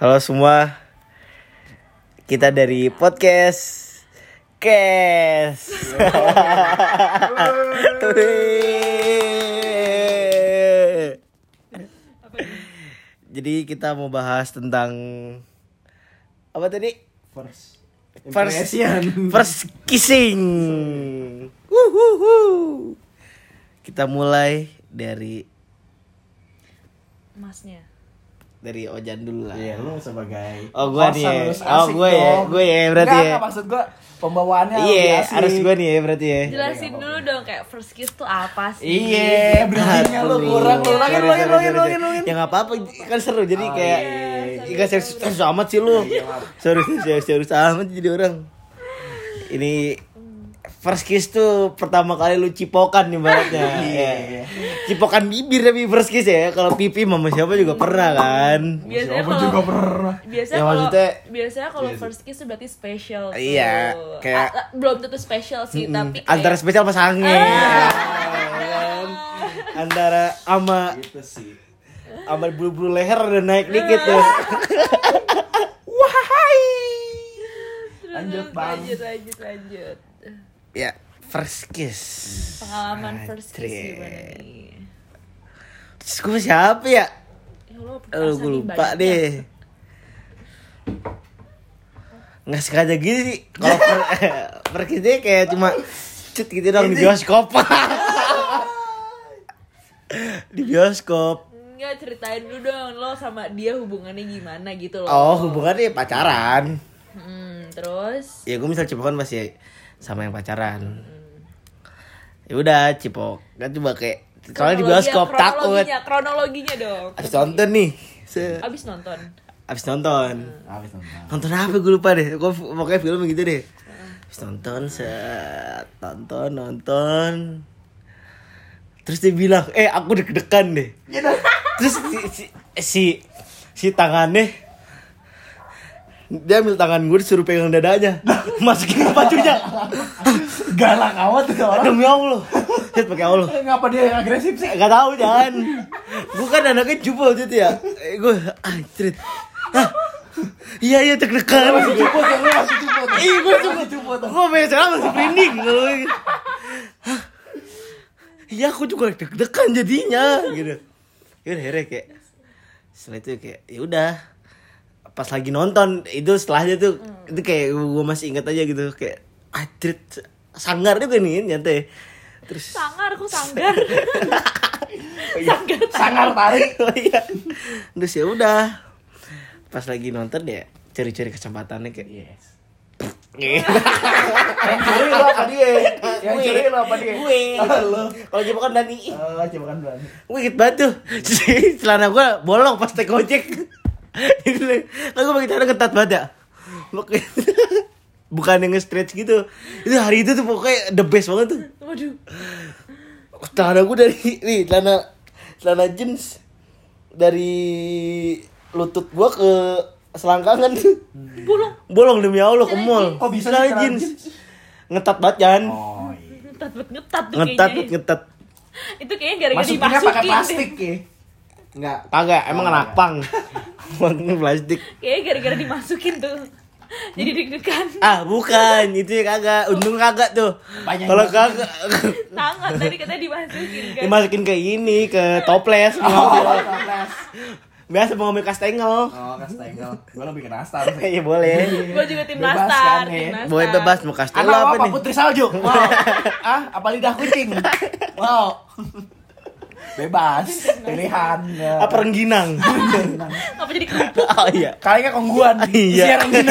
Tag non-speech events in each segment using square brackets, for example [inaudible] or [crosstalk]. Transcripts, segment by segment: Halo semua. Kita dari podcast Kes. [laughs] Wih. Jadi kita mau bahas tentang apa tadi? First First, impression. first kissing. Wuhuhu. Kita mulai dari emasnya dari Ojan dulu lah. Iya, lu sebagai Oh, gua host nih ya. harus Oh, asik gue ya. dong. Gue ya, berarti Enggak, ya. enggak, maksud gua pembawaannya Iya, lebih asik. harus gue nih ya berarti ya. jelasin dulu dong kayak first kiss tuh apa sih Iya, Iya, bridgingnya lu aduh. kurang. Lu Sorry, login, sorry, login, login, sorry, login, sorry. login. Ya nggak apa-apa, kan seru jadi kayak iya, gak serius, serius amat sih lu. Sorry, serius, serius amat jadi orang. Ini first kiss tuh pertama kali lu cipokan nih baratnya. Iya. Cipokan bibir tapi first kiss ya. Kalau pipi mama siapa juga pernah kan. biasanya Siapa Ya, juga kalau pernah. biasanya Ya, kalau maksudnya- biasanya kalau first kiss tuh berarti special tuh. Iya, kayak- Ah, ah, belum tentu special sih tapi kayak, Ah. Antara spesial pas angin. Antara ama Gitu sih. sama bulu-bulu leher udah naik dikit tuh. Ah. [laughs] Wahai. Terus, Lanjut, Bang. lanjut lanjut lanjut Ya, first kiss. pengalaman first kiss Anjrit. gimana nih Terus gue siapa ya? Ya Aduh, Allah, gue perasaan nih lupa banyak ya. deh. Nggak sengaja gini sih. Kalau per, [laughs] first kiss-nya kayak cuma cut gitu dong di bioskop. [laughs] di bioskop. Nggak, ceritain dulu dong lo sama dia hubungannya gimana gitu loh Oh, hubungannya pacaran. Hmm, terus ya gue misal cipokan pasti sama yang Hmm. pacaran ya udah cipok kan cuma kayak soalnya di Kronologinya- bioskop takut kronologinya, kronologinya dong abis nonton nih Se- abis nonton abis nonton Habis nonton. nonton apa gue lupa deh gue pokoknya film gitu deh abis nonton set nonton nonton terus dia bilang eh aku deg-degan deh terus si si si, si tangannya dia ambil tangan gue disuruh pegang dadanya masukin ke pacunya Galak amat tuh orang. demi Allah lihat pakai Allah Eh, Ngapa dia yang agresif sih? Gak tahu jangan Gue kan anaknya jubel gitu ya Gue anjrit Hah? Ah, Iya iya deg-degan Masih cupot, ya, lu masih cupot. Ih, gua cuma- Masih cupot. Gue pengen sekarang masih merinding kalau gitu. Hah? Iya aku juga deg-degan jadinya gitu Yaudah akhirnya kayak Setelah itu kayak yaudah Pas lagi nonton itu setelahnya tuh Itu kayak gue masih ingat aja gitu Kayak anjrit Sanggar juga nih nyantai Terus sangar kok sanggar Sangar tarik. [laughs] Oh iya. Terus ya udah. Pas lagi nonton ya cari-cari kesempatannya kayak Yes. [laughs] Iya. Yang curi lu apa dia? Yang curi lu apa dia? Gue. Oh, lu. Kalau jebakan Dani, ih, Eh, coba kan berani. gue inget banget tuh. Jadi celana gue bolong pas naik ojek. Jadi kan gue pakai celana ketat banget ya. Pakai- [laughs] Bukan yang nge-stretch gitu. Itu hari itu tuh pokoknya the best banget tuh. waduh celana gue dari [laughs] nih celana celana jeans dari lutut gue ke selangkangan bolong Hmm. bolong demi allah ke mall Kok bisa celana sih celana jeans jeans? ngetat banget kan Oh, iya. ngetat banget ngetat tuh ngetat kayaknya ngetat itu kayaknya gara-gara Masukinnya dimasukin pakai deh. plastik ya. Enggak. kagak emang anak [laughs] pang Emang plastik kayaknya gara-gara dimasukin tuh jadi deg-degan ah bukan itu ya kagak untung kagak tuh Banyak kalau banget. [laughs] kagak tangan tadi katanya dimasukin kan dimasukin ke ini ke [laughs] toples [laughs] Oh, toples. biasa mau ambil kastengel [laughs] Oh, kastengel. Gua lebih ke nastar sih. ya boleh gue juga tim Bebas nastar kan, tim ya? nastar boleh bebas mau kastengel Anak Iya. apa apa, nih Putri [laughs] Salju? Wow. ah, apa lidah kucing? Wow. [laughs] Bebas, pilihan. ya. apa [laughs] rengginang apa jadi kerupuk [laughs] oh iya Kayaknya kan kongguan. [laughs] Iya. Siaran gini.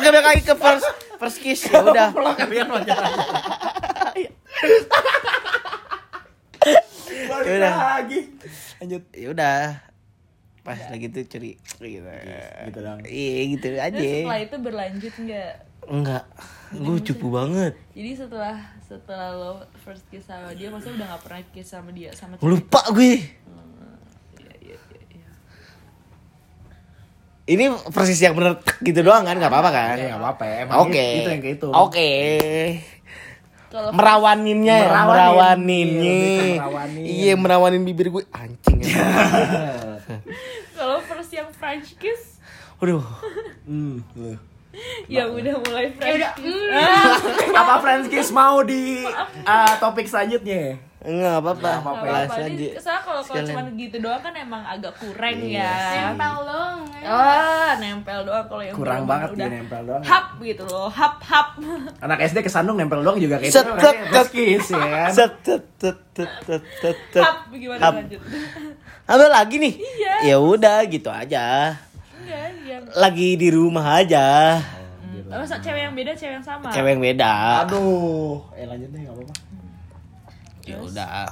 Oke balik lagi ke first first kiss ya udah. [laughs] Pulang kalian [laughs] pacaran. Balik Yaudah. lagi. Lanjut. Ya udah. Pas lagi tuh curi gitu. gitu dong. Iya gitu aja. terus setelah itu berlanjut nggak Enggak. Gue cupu banget. jadi setelah setelah lo first kiss sama dia maksudnya udah gak pernah kiss sama dia sama cewek Lupa gue. Iya, iya, iya, iya. Ini persis yang bener tek gitu doang kan nggak apa-apa kan? Ya enggak apa-apa, emang Oke. itu yang kayak itu. [laughs] Oke. kalau Merawaninnya ya, Merawanin. merawaninnya. Iya, lebih ke merawanin. [laughs] Iya, merawanin bibir gue anjing. Ya. kalau first French kiss Waduh. Hmm, lu. ya udah mulai French udah, kiss [laughs] Apa French kiss mau di eh, topik selanjutnya? Enggak apa-apa. Nggak apa-apa. Bahas apa lagi. soalnya kalau kalau Sekalian. cuma gitu doang kan emang agak kurang Iya. ya nempel dong ya. ah nempel doang kalau yang Kurang bener-bener banget dia udah nempel doang. hap gitu loh hap hap [laughs] Anak SD kesandung nempel doang juga kayak Set, itu. set, French kiss ya kan. Set, set, set, set, set, set, set. hap gimana Hap. lanjut Apa lagi nih? Ya Iya. udah gitu aja. enggak iya. yang Lagi di rumah aja. masa cewek yang beda cewek yang sama Ah. Cewek yang beda. Aduh, eh lanjut deh enggak apa-apa. Ya udah.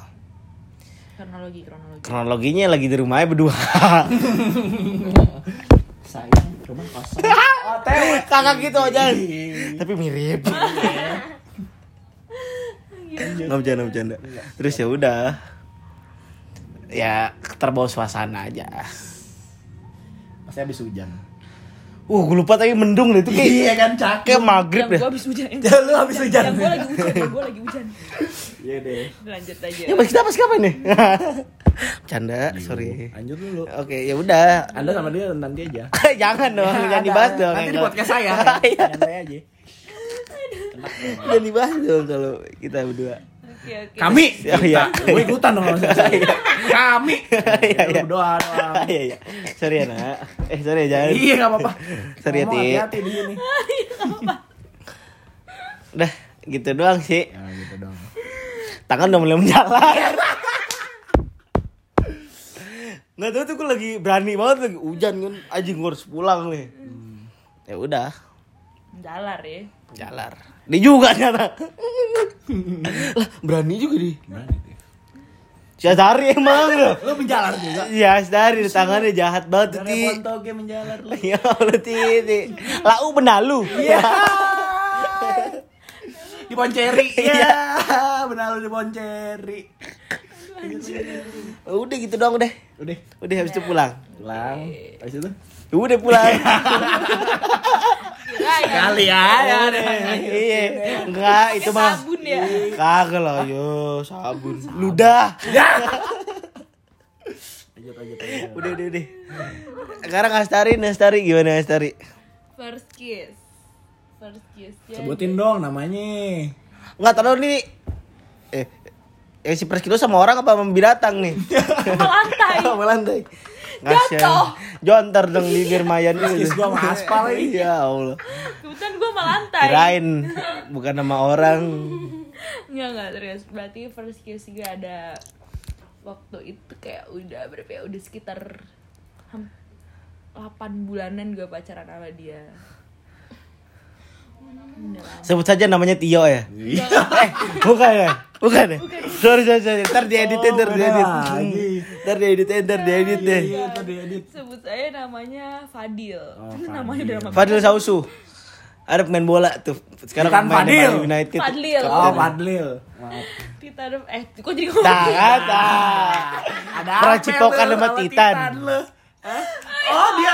kronologi kronologi Kronologinya lagi di rumahnya berdua. Sayang, rumah kosong. OTW. [laughs] Kakak gitu aja. Tapi mirip. [laughs] Nggak bercanda bercanda. Terus ya udah. Ya terbawa suasana aja. Masih habis hujan. Uh, gue lupa tadi mendung deh itu kayak [laughs] Iya kan cakep. kayak maghrib yang deh. gua habis [laughs] hujan yang Ya, lu habis hujan. gua lagi hujan yang gua lagi hujan Iya deh. lanjut aja Ya mas kita pas kapan nih? [laughs] Canda, Iya. sorry. Lanjut dulu. Oke, ya udah. [laughs] Anda sama dia nanti aja. jangan dong, jangan dibahas dong. Iya, Nanti di Kalau- podcast [laughs] saya. [laughs] Iya. Santai aja. Jangan dibahas dong kalau kita berdua. oke oke Kami. Oh, iya. [laughs] Gue ikutan dong sama saya. Kami. Iya, iya. Lu berdoa doang. Iya, iya. Sorry ya, Nak. Eh, sorry ya, jangan. Iya enggak apa-apa. Sorry, Ngomong Ti. Hati-hati di sini. Udah, gitu doang sih. Ya gitu dong. Tangan udah mulai menjalar. Nggak tahu tuh gue lagi berani banget lagi hujan kan anjing gue harus pulang nih. Hmm. Ya udah, jalar ya jalar. Dia juga nyata. lah, berani juga dia. Sadari emang lo. Lu menjalar juga. Ya, sadari tangannya jahat banget tuh, Ti. Dari toge menjalar lu. Ya Allah, Ti. Ti. Lau benalu. Iya. Di Bonceri. Iya, benar lu di Bonceri. [laughs] Udah gitu doang deh. Udah, Udah habis itu pulang. pulang. Habis itu Udah pulang. kali ya. ya, deh. Iya, enggak itu mah. sabun ya. Kagak lah, yo sabun. Ludah. Lanjut lanjut. lanjut. Udah, udah, udah. Sekarang Astari, Astari gimana Astari? first kiss first kiss ya Sebutin dong namanya. Enggak tahu nih. Eh, eh si Preskilo sama orang apa sama binatang nih? sama lantai Sama lantai. Ngasih. Jontor dong bibir Mayan itu. Kiss gua [laughs] sama aspal ini. Iya, Allah. kebetulan gua sama lantai Kirain bukan nama orang. Enggak enggak serius. Berarti first kiss gue ada waktu itu kayak udah berapa ya? Udah sekitar ham- 8 bulanan gue pacaran sama dia. Sebut saja namanya Tio ya. Iya. eh, bukan ya? Bukan ya? Sorry, sorry, sorry. Ntar dieditin, ntar Oh, diedit. beda lagi. Ntar dieditin, ntar diedit deh. Iya, tadi edit. Sebut saya namanya Fadil. Oh, [laughs] namanya udah nama Fadil Sausu. Ada pemain bola tuh. Sekarang Bukan pemain Fadil. Bali United. Fadil. Oh, Fadlil. Maaf. Tita Dem- eh kok jadi Nah, ngomong. kan, nah. Ah, Ada Peracitokan apa lu sama Titan. lu? Hah? Oh, dia.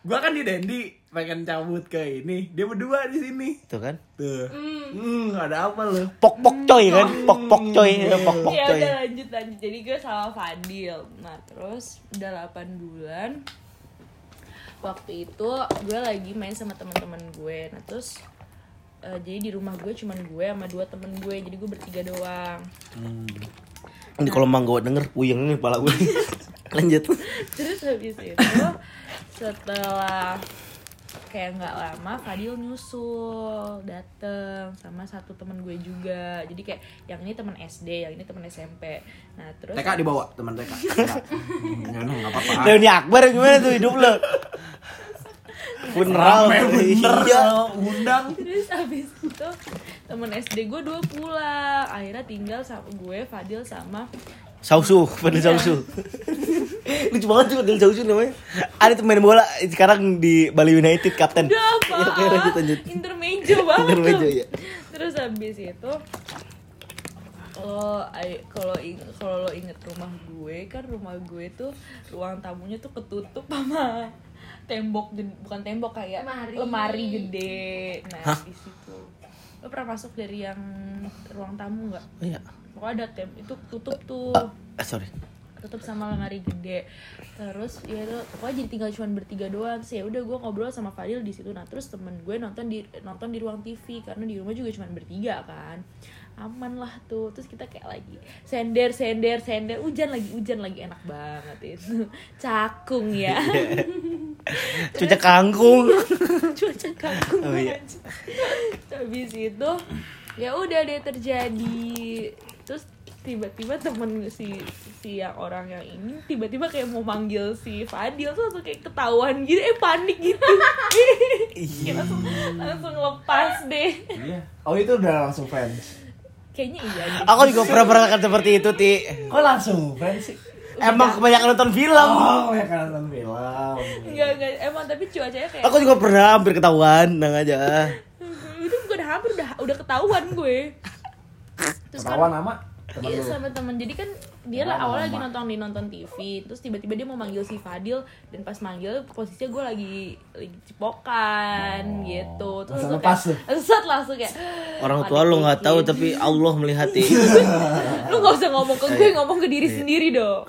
Gua kan di Dendi pengen cabut ke ini. Dia berdua di sini. Tuh kan. Tuh. Hmm, ada apa lu? Pok pok coy kan. Pok pok coy. Pok pok Iya, Ya coy. udah lanjut lanjut. Jadi gue sama Fadil. Nah terus udah 8 bulan. Waktu itu gue lagi main sama teman-teman gue. Nah terus eh, jadi di rumah gue cuman gue sama dua temen gue. Jadi gue bertiga doang. [laughs] Ini kalau Mang gua [laughs] denger puyeng nih pala gue. Lanjut. Terus habis itu setelah kayak nggak lama Fadil nyusul dateng sama satu temen gue juga jadi kayak yang ini temen SD yang ini temen SMP nah terus TK dibawa teman TK. Enggak, enggak apa-apa. Reuni Akbar gimana tuh hidup lo? Funeral. Rame bener Iya. kalau undang. Terus abis itu temen SD gue dua pulang Akhirnya tinggal sama gue, Fadil sama Sausu, Fadil Sausu. Lucu banget tuh Fadil Sausu namanya. Ada pemain bola sekarang di Bali United kapten. Udah apa? Oke, lanjut lanjut. Intermejo banget Intermejo, tuh. iya. Terus abis itu kalau ai- kalau ing- kalau lo inget rumah gue kan rumah gue tuh ruang tamunya tuh ketutup sama tembok ged- bukan tembok kayak Lemari. gede nah di situ lo pernah masuk dari yang ruang tamu nggak Iya. pokoknya ada tem itu tutup tuh Ah, sorry. [laughs] tertutup sama lemari gede terus ya itu pokoknya jadi tinggal cuman bertiga doang sih ya udah gue ngobrol sama Fadil di situ nah terus temen gue nonton di nonton di ruang TV karena di rumah juga cuman bertiga kan aman lah tuh terus kita kayak lagi sender sender sender hujan lagi hujan lagi enak banget itu [laughs] cakung ya [laughs] Cuca kangkung. cuaca kagum Oh, iya. banget. [laughs] habis itu ya udah deh terjadi terus tiba-tiba temen si si yang orang yang ini tiba-tiba kayak mau manggil si Fadil tuh langsung kayak ketahuan gitu eh panik [laughs] gitu Iya. langsung langsung lepas deh Iya. Oh itu udah langsung fans. kayaknya iya deh. Aku juga pernah merasakan seperti itu, Ti. Kok langsung fans sih? Emang kebanyakan nonton film. Oh, ya kan nonton film. Enggak, enggak. Emang tapi cuacanya kayak "Hmm, Aku juga pernah hampir ketahuan, tenang aja. itu gue udah hampir udah udah ketahuan [laughs] gue. Terus kan- Ketawa nama temen Iya lu. sama teman. Jadi kan dia lah Lama-lama. awalnya lagi nonton di nonton TV, terus tiba-tiba dia mau manggil si Fadil dan pas manggil posisinya gue lagi lagi cipokan Oh. gitu. Terus Langsung kayak- lepas tuh. [laughs] Set langsung kayak Orang tua lu nggak tahu tapi Allah melihat, Ti. [laughs] lu nggak usah ngomong ke gue, ngomong ke diri sendiri dong.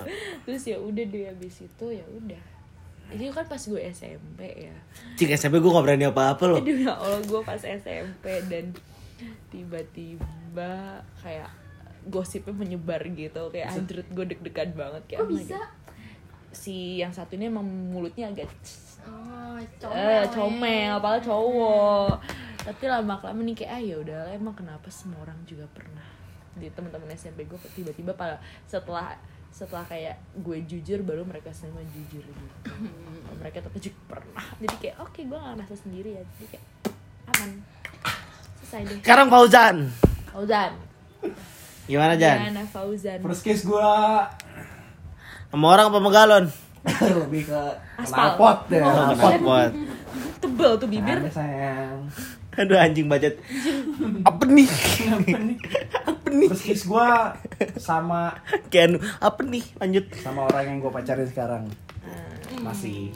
Terus ya udah deh habis itu ya udah. Itu kan pas gue SMP ya. Cing SMP gue gak berani apa-apa loh. Aduh ya Allah gue pas SMP dan tiba-tiba kayak gosipnya menyebar gitu kayak anjrit gue deg-degan banget kayak Kok oh my bisa? God. si yang satu ini emang mulutnya agak c- Oh, eh, comel. ya. Hmm. comel padahal cowok tapi lama kelamaan nih kayak ah ya udah emang kenapa semua orang juga pernah di teman-teman SMP gue tiba-tiba pada setelah setelah kayak gue jujur baru mereka semua jujur gitu Hmm. mereka tetap juga pernah jadi kayak oke gue gak ngerasa sendiri ya jadi kayak aman selesai deh Sekarang Fauzan. Fauzan Gimana, Jan? Diana Fauzan First kiss gua [laughs] Sama orang apa sama galon? lebih ke Aspal. knalpot ya. Oh, knalpot. knalpot. tebel tuh bibir Ada, sayang. Aduh anjing budget. Apa nih? [laughs] Apa nih? First kiss gua sama Ken, apa nih? Lanjut. sama orang yang gua pacarin sekarang. Hmm. Masih.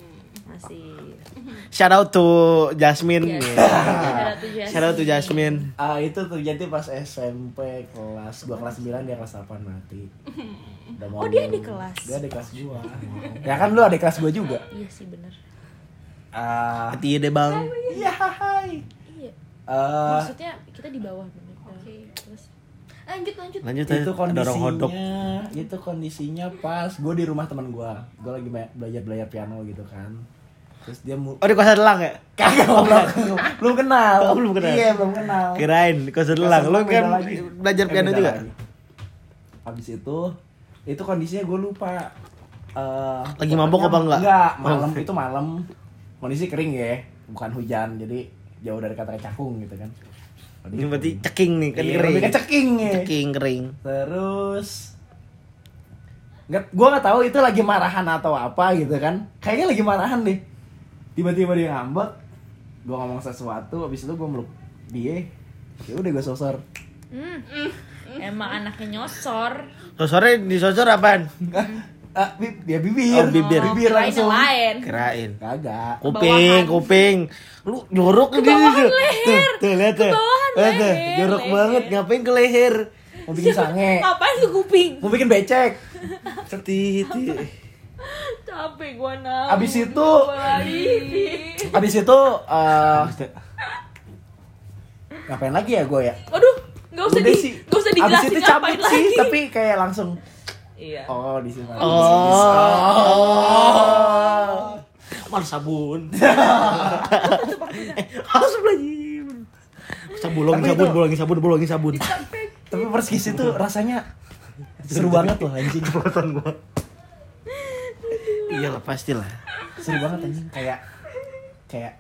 masih Iya. Shout out to Kan Jasmine. Yes. gitu. Yeah. Shout out to Jasmine. Shout out to Jasmine. Ah itu terjadi pas SMP kelas gua kelas 9 dia kelas 8 mati. Udah mau Oh, dia lulus. adik kelas. Dia adik kelas gua. ya kan lu adik kelas gua juga. iya sih bener Ah Hati deh bang. iya hai. iya Eh maksudnya kita di bawah bener Oke. terus Lanjut lanjut. Nah. Lanjut itu aja. Dorong hodok. kondisinya itu kondisinya pas gue di rumah teman gue gue lagi be- belajar belajar piano gitu kan terus dia mu [laughs] Oh di kosan elang ya? kagak belum belum kenal Oh, belum kenal. iya belum kenal Kirain di kosan elang. Lo Beda kan lagi. belajar Eh, piano beda juga? lagi. abis itu itu kondisinya gue lupa Eh, Lagi mabok pokoknya- apa enggak? enggak malam Oh. itu malam kondisi kering ya bukan hujan jadi jauh dari kata cakung gitu kan Ini berarti ceking nih kan Iya, kering. lebih ke ceking ya Ceking kering. Terus nggak, gue nggak tahu itu lagi marahan atau apa gitu kan. Kayaknya lagi marahan deh. Tiba-tiba dia ngambek, gue ngomong sesuatu, habis itu gue meluk dia. Ya udah gue sosor. emang anaknya nyosor Lo sore disosor apaan? Ah, bib, ya bibir. Oh, bibir. bibir Kirain yang langsung. lain Kirain. Kagak. Kuping, Kebawahan. kuping. Lu jorok ke Kebawahan Tuh, leher. tuh lihat tuh. Kebawahan Lihat tuh, leher, jorok leher. banget ngapain ke leher? Mau bikin sange. [laughs] ngapain ke kuping Mau bikin becek. Seti, ti. capek gua nang Abis itu, abis itu, eh, ngapain lagi ya gue ya? Waduh, nggak usah Udah di, sih. nggak usah Abis dijelasin itu ngapain cabut lagi. sih, tapi kayak langsung Iya. Oh, di sini. Oh. Mana sabun? Eh, harus lagi. Sabun, bolongin Tapi sabun, itu- bolongin sabun, bolongin sabun. Tapi first kiss itu rasanya seru banget loh anjing. Keceplosan gua. Iyalah pastilah. Seru banget anjing kayak kayak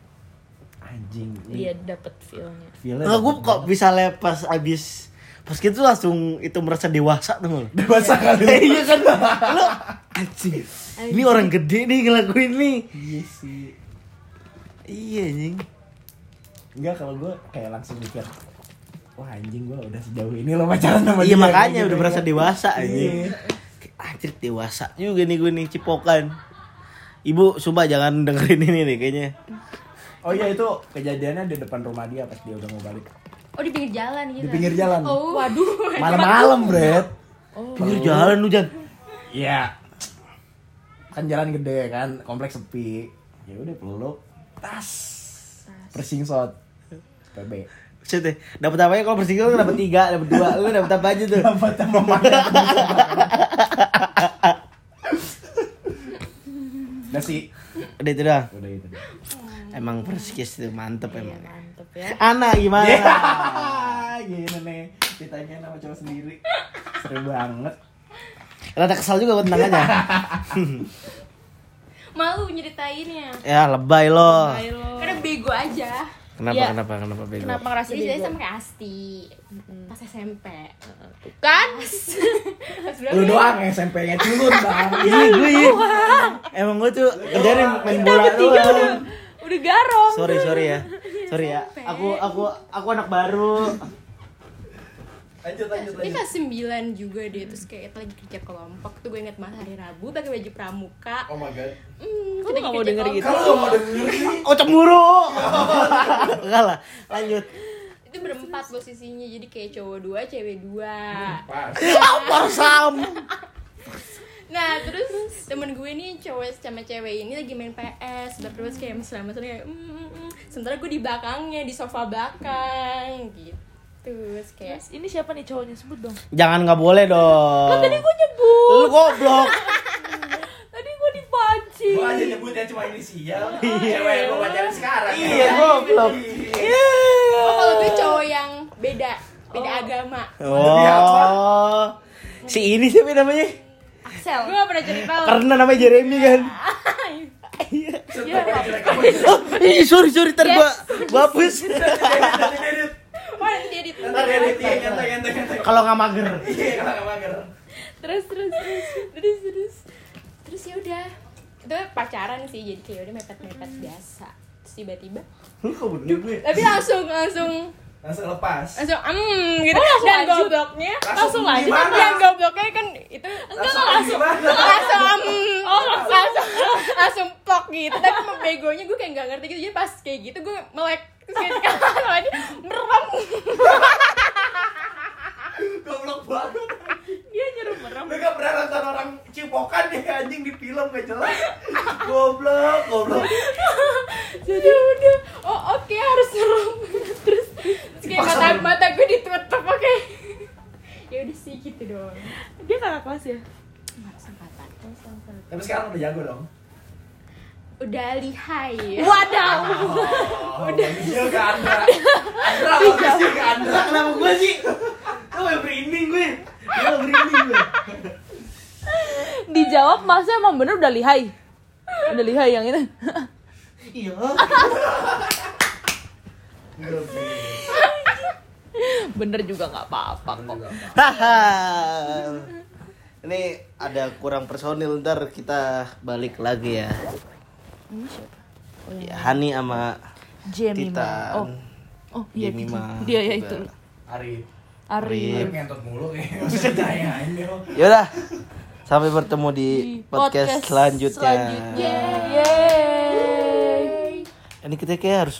anjing. Dia dapat feelnya. Feelnya Nah, Iya. gua kok bisa lepas abis pas gitu langsung itu merasa dewasa tuh. Udah basah kali. [laughs] Iya kan. Lu anjing. Ini orang gede nih ngelakuin nih. Iya sih. Iya anjing. Enggak kalau gue kayak langsung mikir Wah anjing gue udah sejauh ini lo pacaran sama dia Iya makanya Kayak udah gitu, merasa ya. dewasa Iya. anjing. Kayak, Anjir dewasa juga nih gue nih cipokan. Ibu, sumpah jangan dengerin ini nih kayaknya. Oh iya itu kejadiannya di depan rumah dia pas dia udah mau balik Iya, Oh di pinggir jalan gitu. Di pinggir jalan [laughs] Oh. Waduh. Malam-malam Bret Pinggir jalan lu Jan. Iya kan jalan gede kan kompleks sepi ya udah peluk tas pressing shot PB Maksud deh, dapat apa ya kalau bersinggung dapat tiga, dapat dua, lu dapat apa aja tuh? dapat tambah Udah sih Udah itu doang. udah itu Emang persikis itu mantep Iya, emang. mantep Ah. ya. Ana gimana? Iya. Ya. gini nih ditanya sama cowok sendiri seru banget Rada kesal juga gua tendangannya. Malu nyeritainnya. ya lebay lo. Hai Iya. lo. Karena bego aja. Kenapa Iya. kenapa kenapa bego? Kenapa ngerasa Jadi saya Oh. bego? Iya, sama kayak Asti pas SMP. Tuh Kan? [laughs] lu doang yang SMP-nya culun bang Iya gue iya. Emang gue tuh kerjanya main bola doang. Udah garong. Sorry sorry ya. Sorry ya. Aku aku aku anak baru. lanjut lanjut Ini kelas 9 juga dia terus kayak kita lagi kerja kelompok tuh gue inget banget hari Rabu pakai baju pramuka. oh my god Hmm, Kamu nggak mau denger gitu? kalau gak mau denger sih Oh cemburu. Enggak lah. Lanjut. gitu? Itu berempat posisinya jadi kayak cowok dua, cewek dua. Hmm. pas Apa sam? Nah terus temen gue nih cowok sama cewek ini lagi main PS Udah terus kayak mesra-mesra kayak mm, mm, mm. Sementara gue di belakangnya, di sofa belakang gitu Terus kayak Guys, ini siapa nih cowoknya sebut dong? Jangan nggak boleh dong. Tadi gue nyebut. Lu goblok. Tadi gue dipancing. Gua aja nyebutnya cuma inisial Iya. Cewek yang gua pacaran sekarang iya. Iya goblok. Oh kalau gue cowok yang beda, beda agama Oh. Si ini siapa namanya? Axel Gue gak pernah cerita lo Karena namanya Jeremy kan. Setelah pada jelek kamu Iya, Oh, ih, sorry sorry ntar gua gua hapus. Oh dia di Iya, Ntar ya Dit, iya, nyantai nyantai nyantai Kalau nggak mager. Iya kalau gak mager terus terus terus terus terus terus ya udah itu pacaran sih jadi kayak ya udah mepet mepet biasa terus tiba-tiba Lu kok bener gue? tapi langsung langsung Langsung lepas langsung hmm gitu langsung dan lanjut? gobloknya Langsung langsung lanjut gimana? tapi yang gobloknya kan itu enggak Langsung langsung gimana? langsung hmm, oh langsung langsung pok gitu tapi sama begonya gue kayak nggak ngerti gitu jadi pas kayak gitu gue melek terus kayak di kamar [laughs] mandi merem Goblok banget Dia nyuruh merem. Lu gak pernah nonton orang cipokan deh anjing di film gak jelas Goblok, goblok jadi udah oh oke harus serem terus, terus kayak mata Dipaksa. mata gue ditutup oke ya udah sih gitu doang Dia kakak kelas ya? Nggak kesempatan Tapi sekarang udah jago dong udah lihai Iya. Waduh. Oh, bagus juga Andra Andra, bagus juga Iya. Andra Kenapa gue sih? Lu yang berinding gue. Lu yang berinding gue. Dijawab masa emang bener udah lihai. Udah lihai yang ini. [laughs] Iya. Iya. bener juga nggak apa-apa kok. Haha. [laughs] Ini ada kurang personil ntar kita balik lagi ya. Ini siapa? Oh, ya Hani sama Jemima. Titan. Oh. Oh, iya Titan. Jemima Dia ya juga. itu. Arif Arif. Arif. Arif ngentot mulu [laughs] kayaknya Maksudnya tanyain lo Yaudah. Sampai bertemu di podcast, selanjutnya. selanjutnya. Yeay. Ini kita kayak harus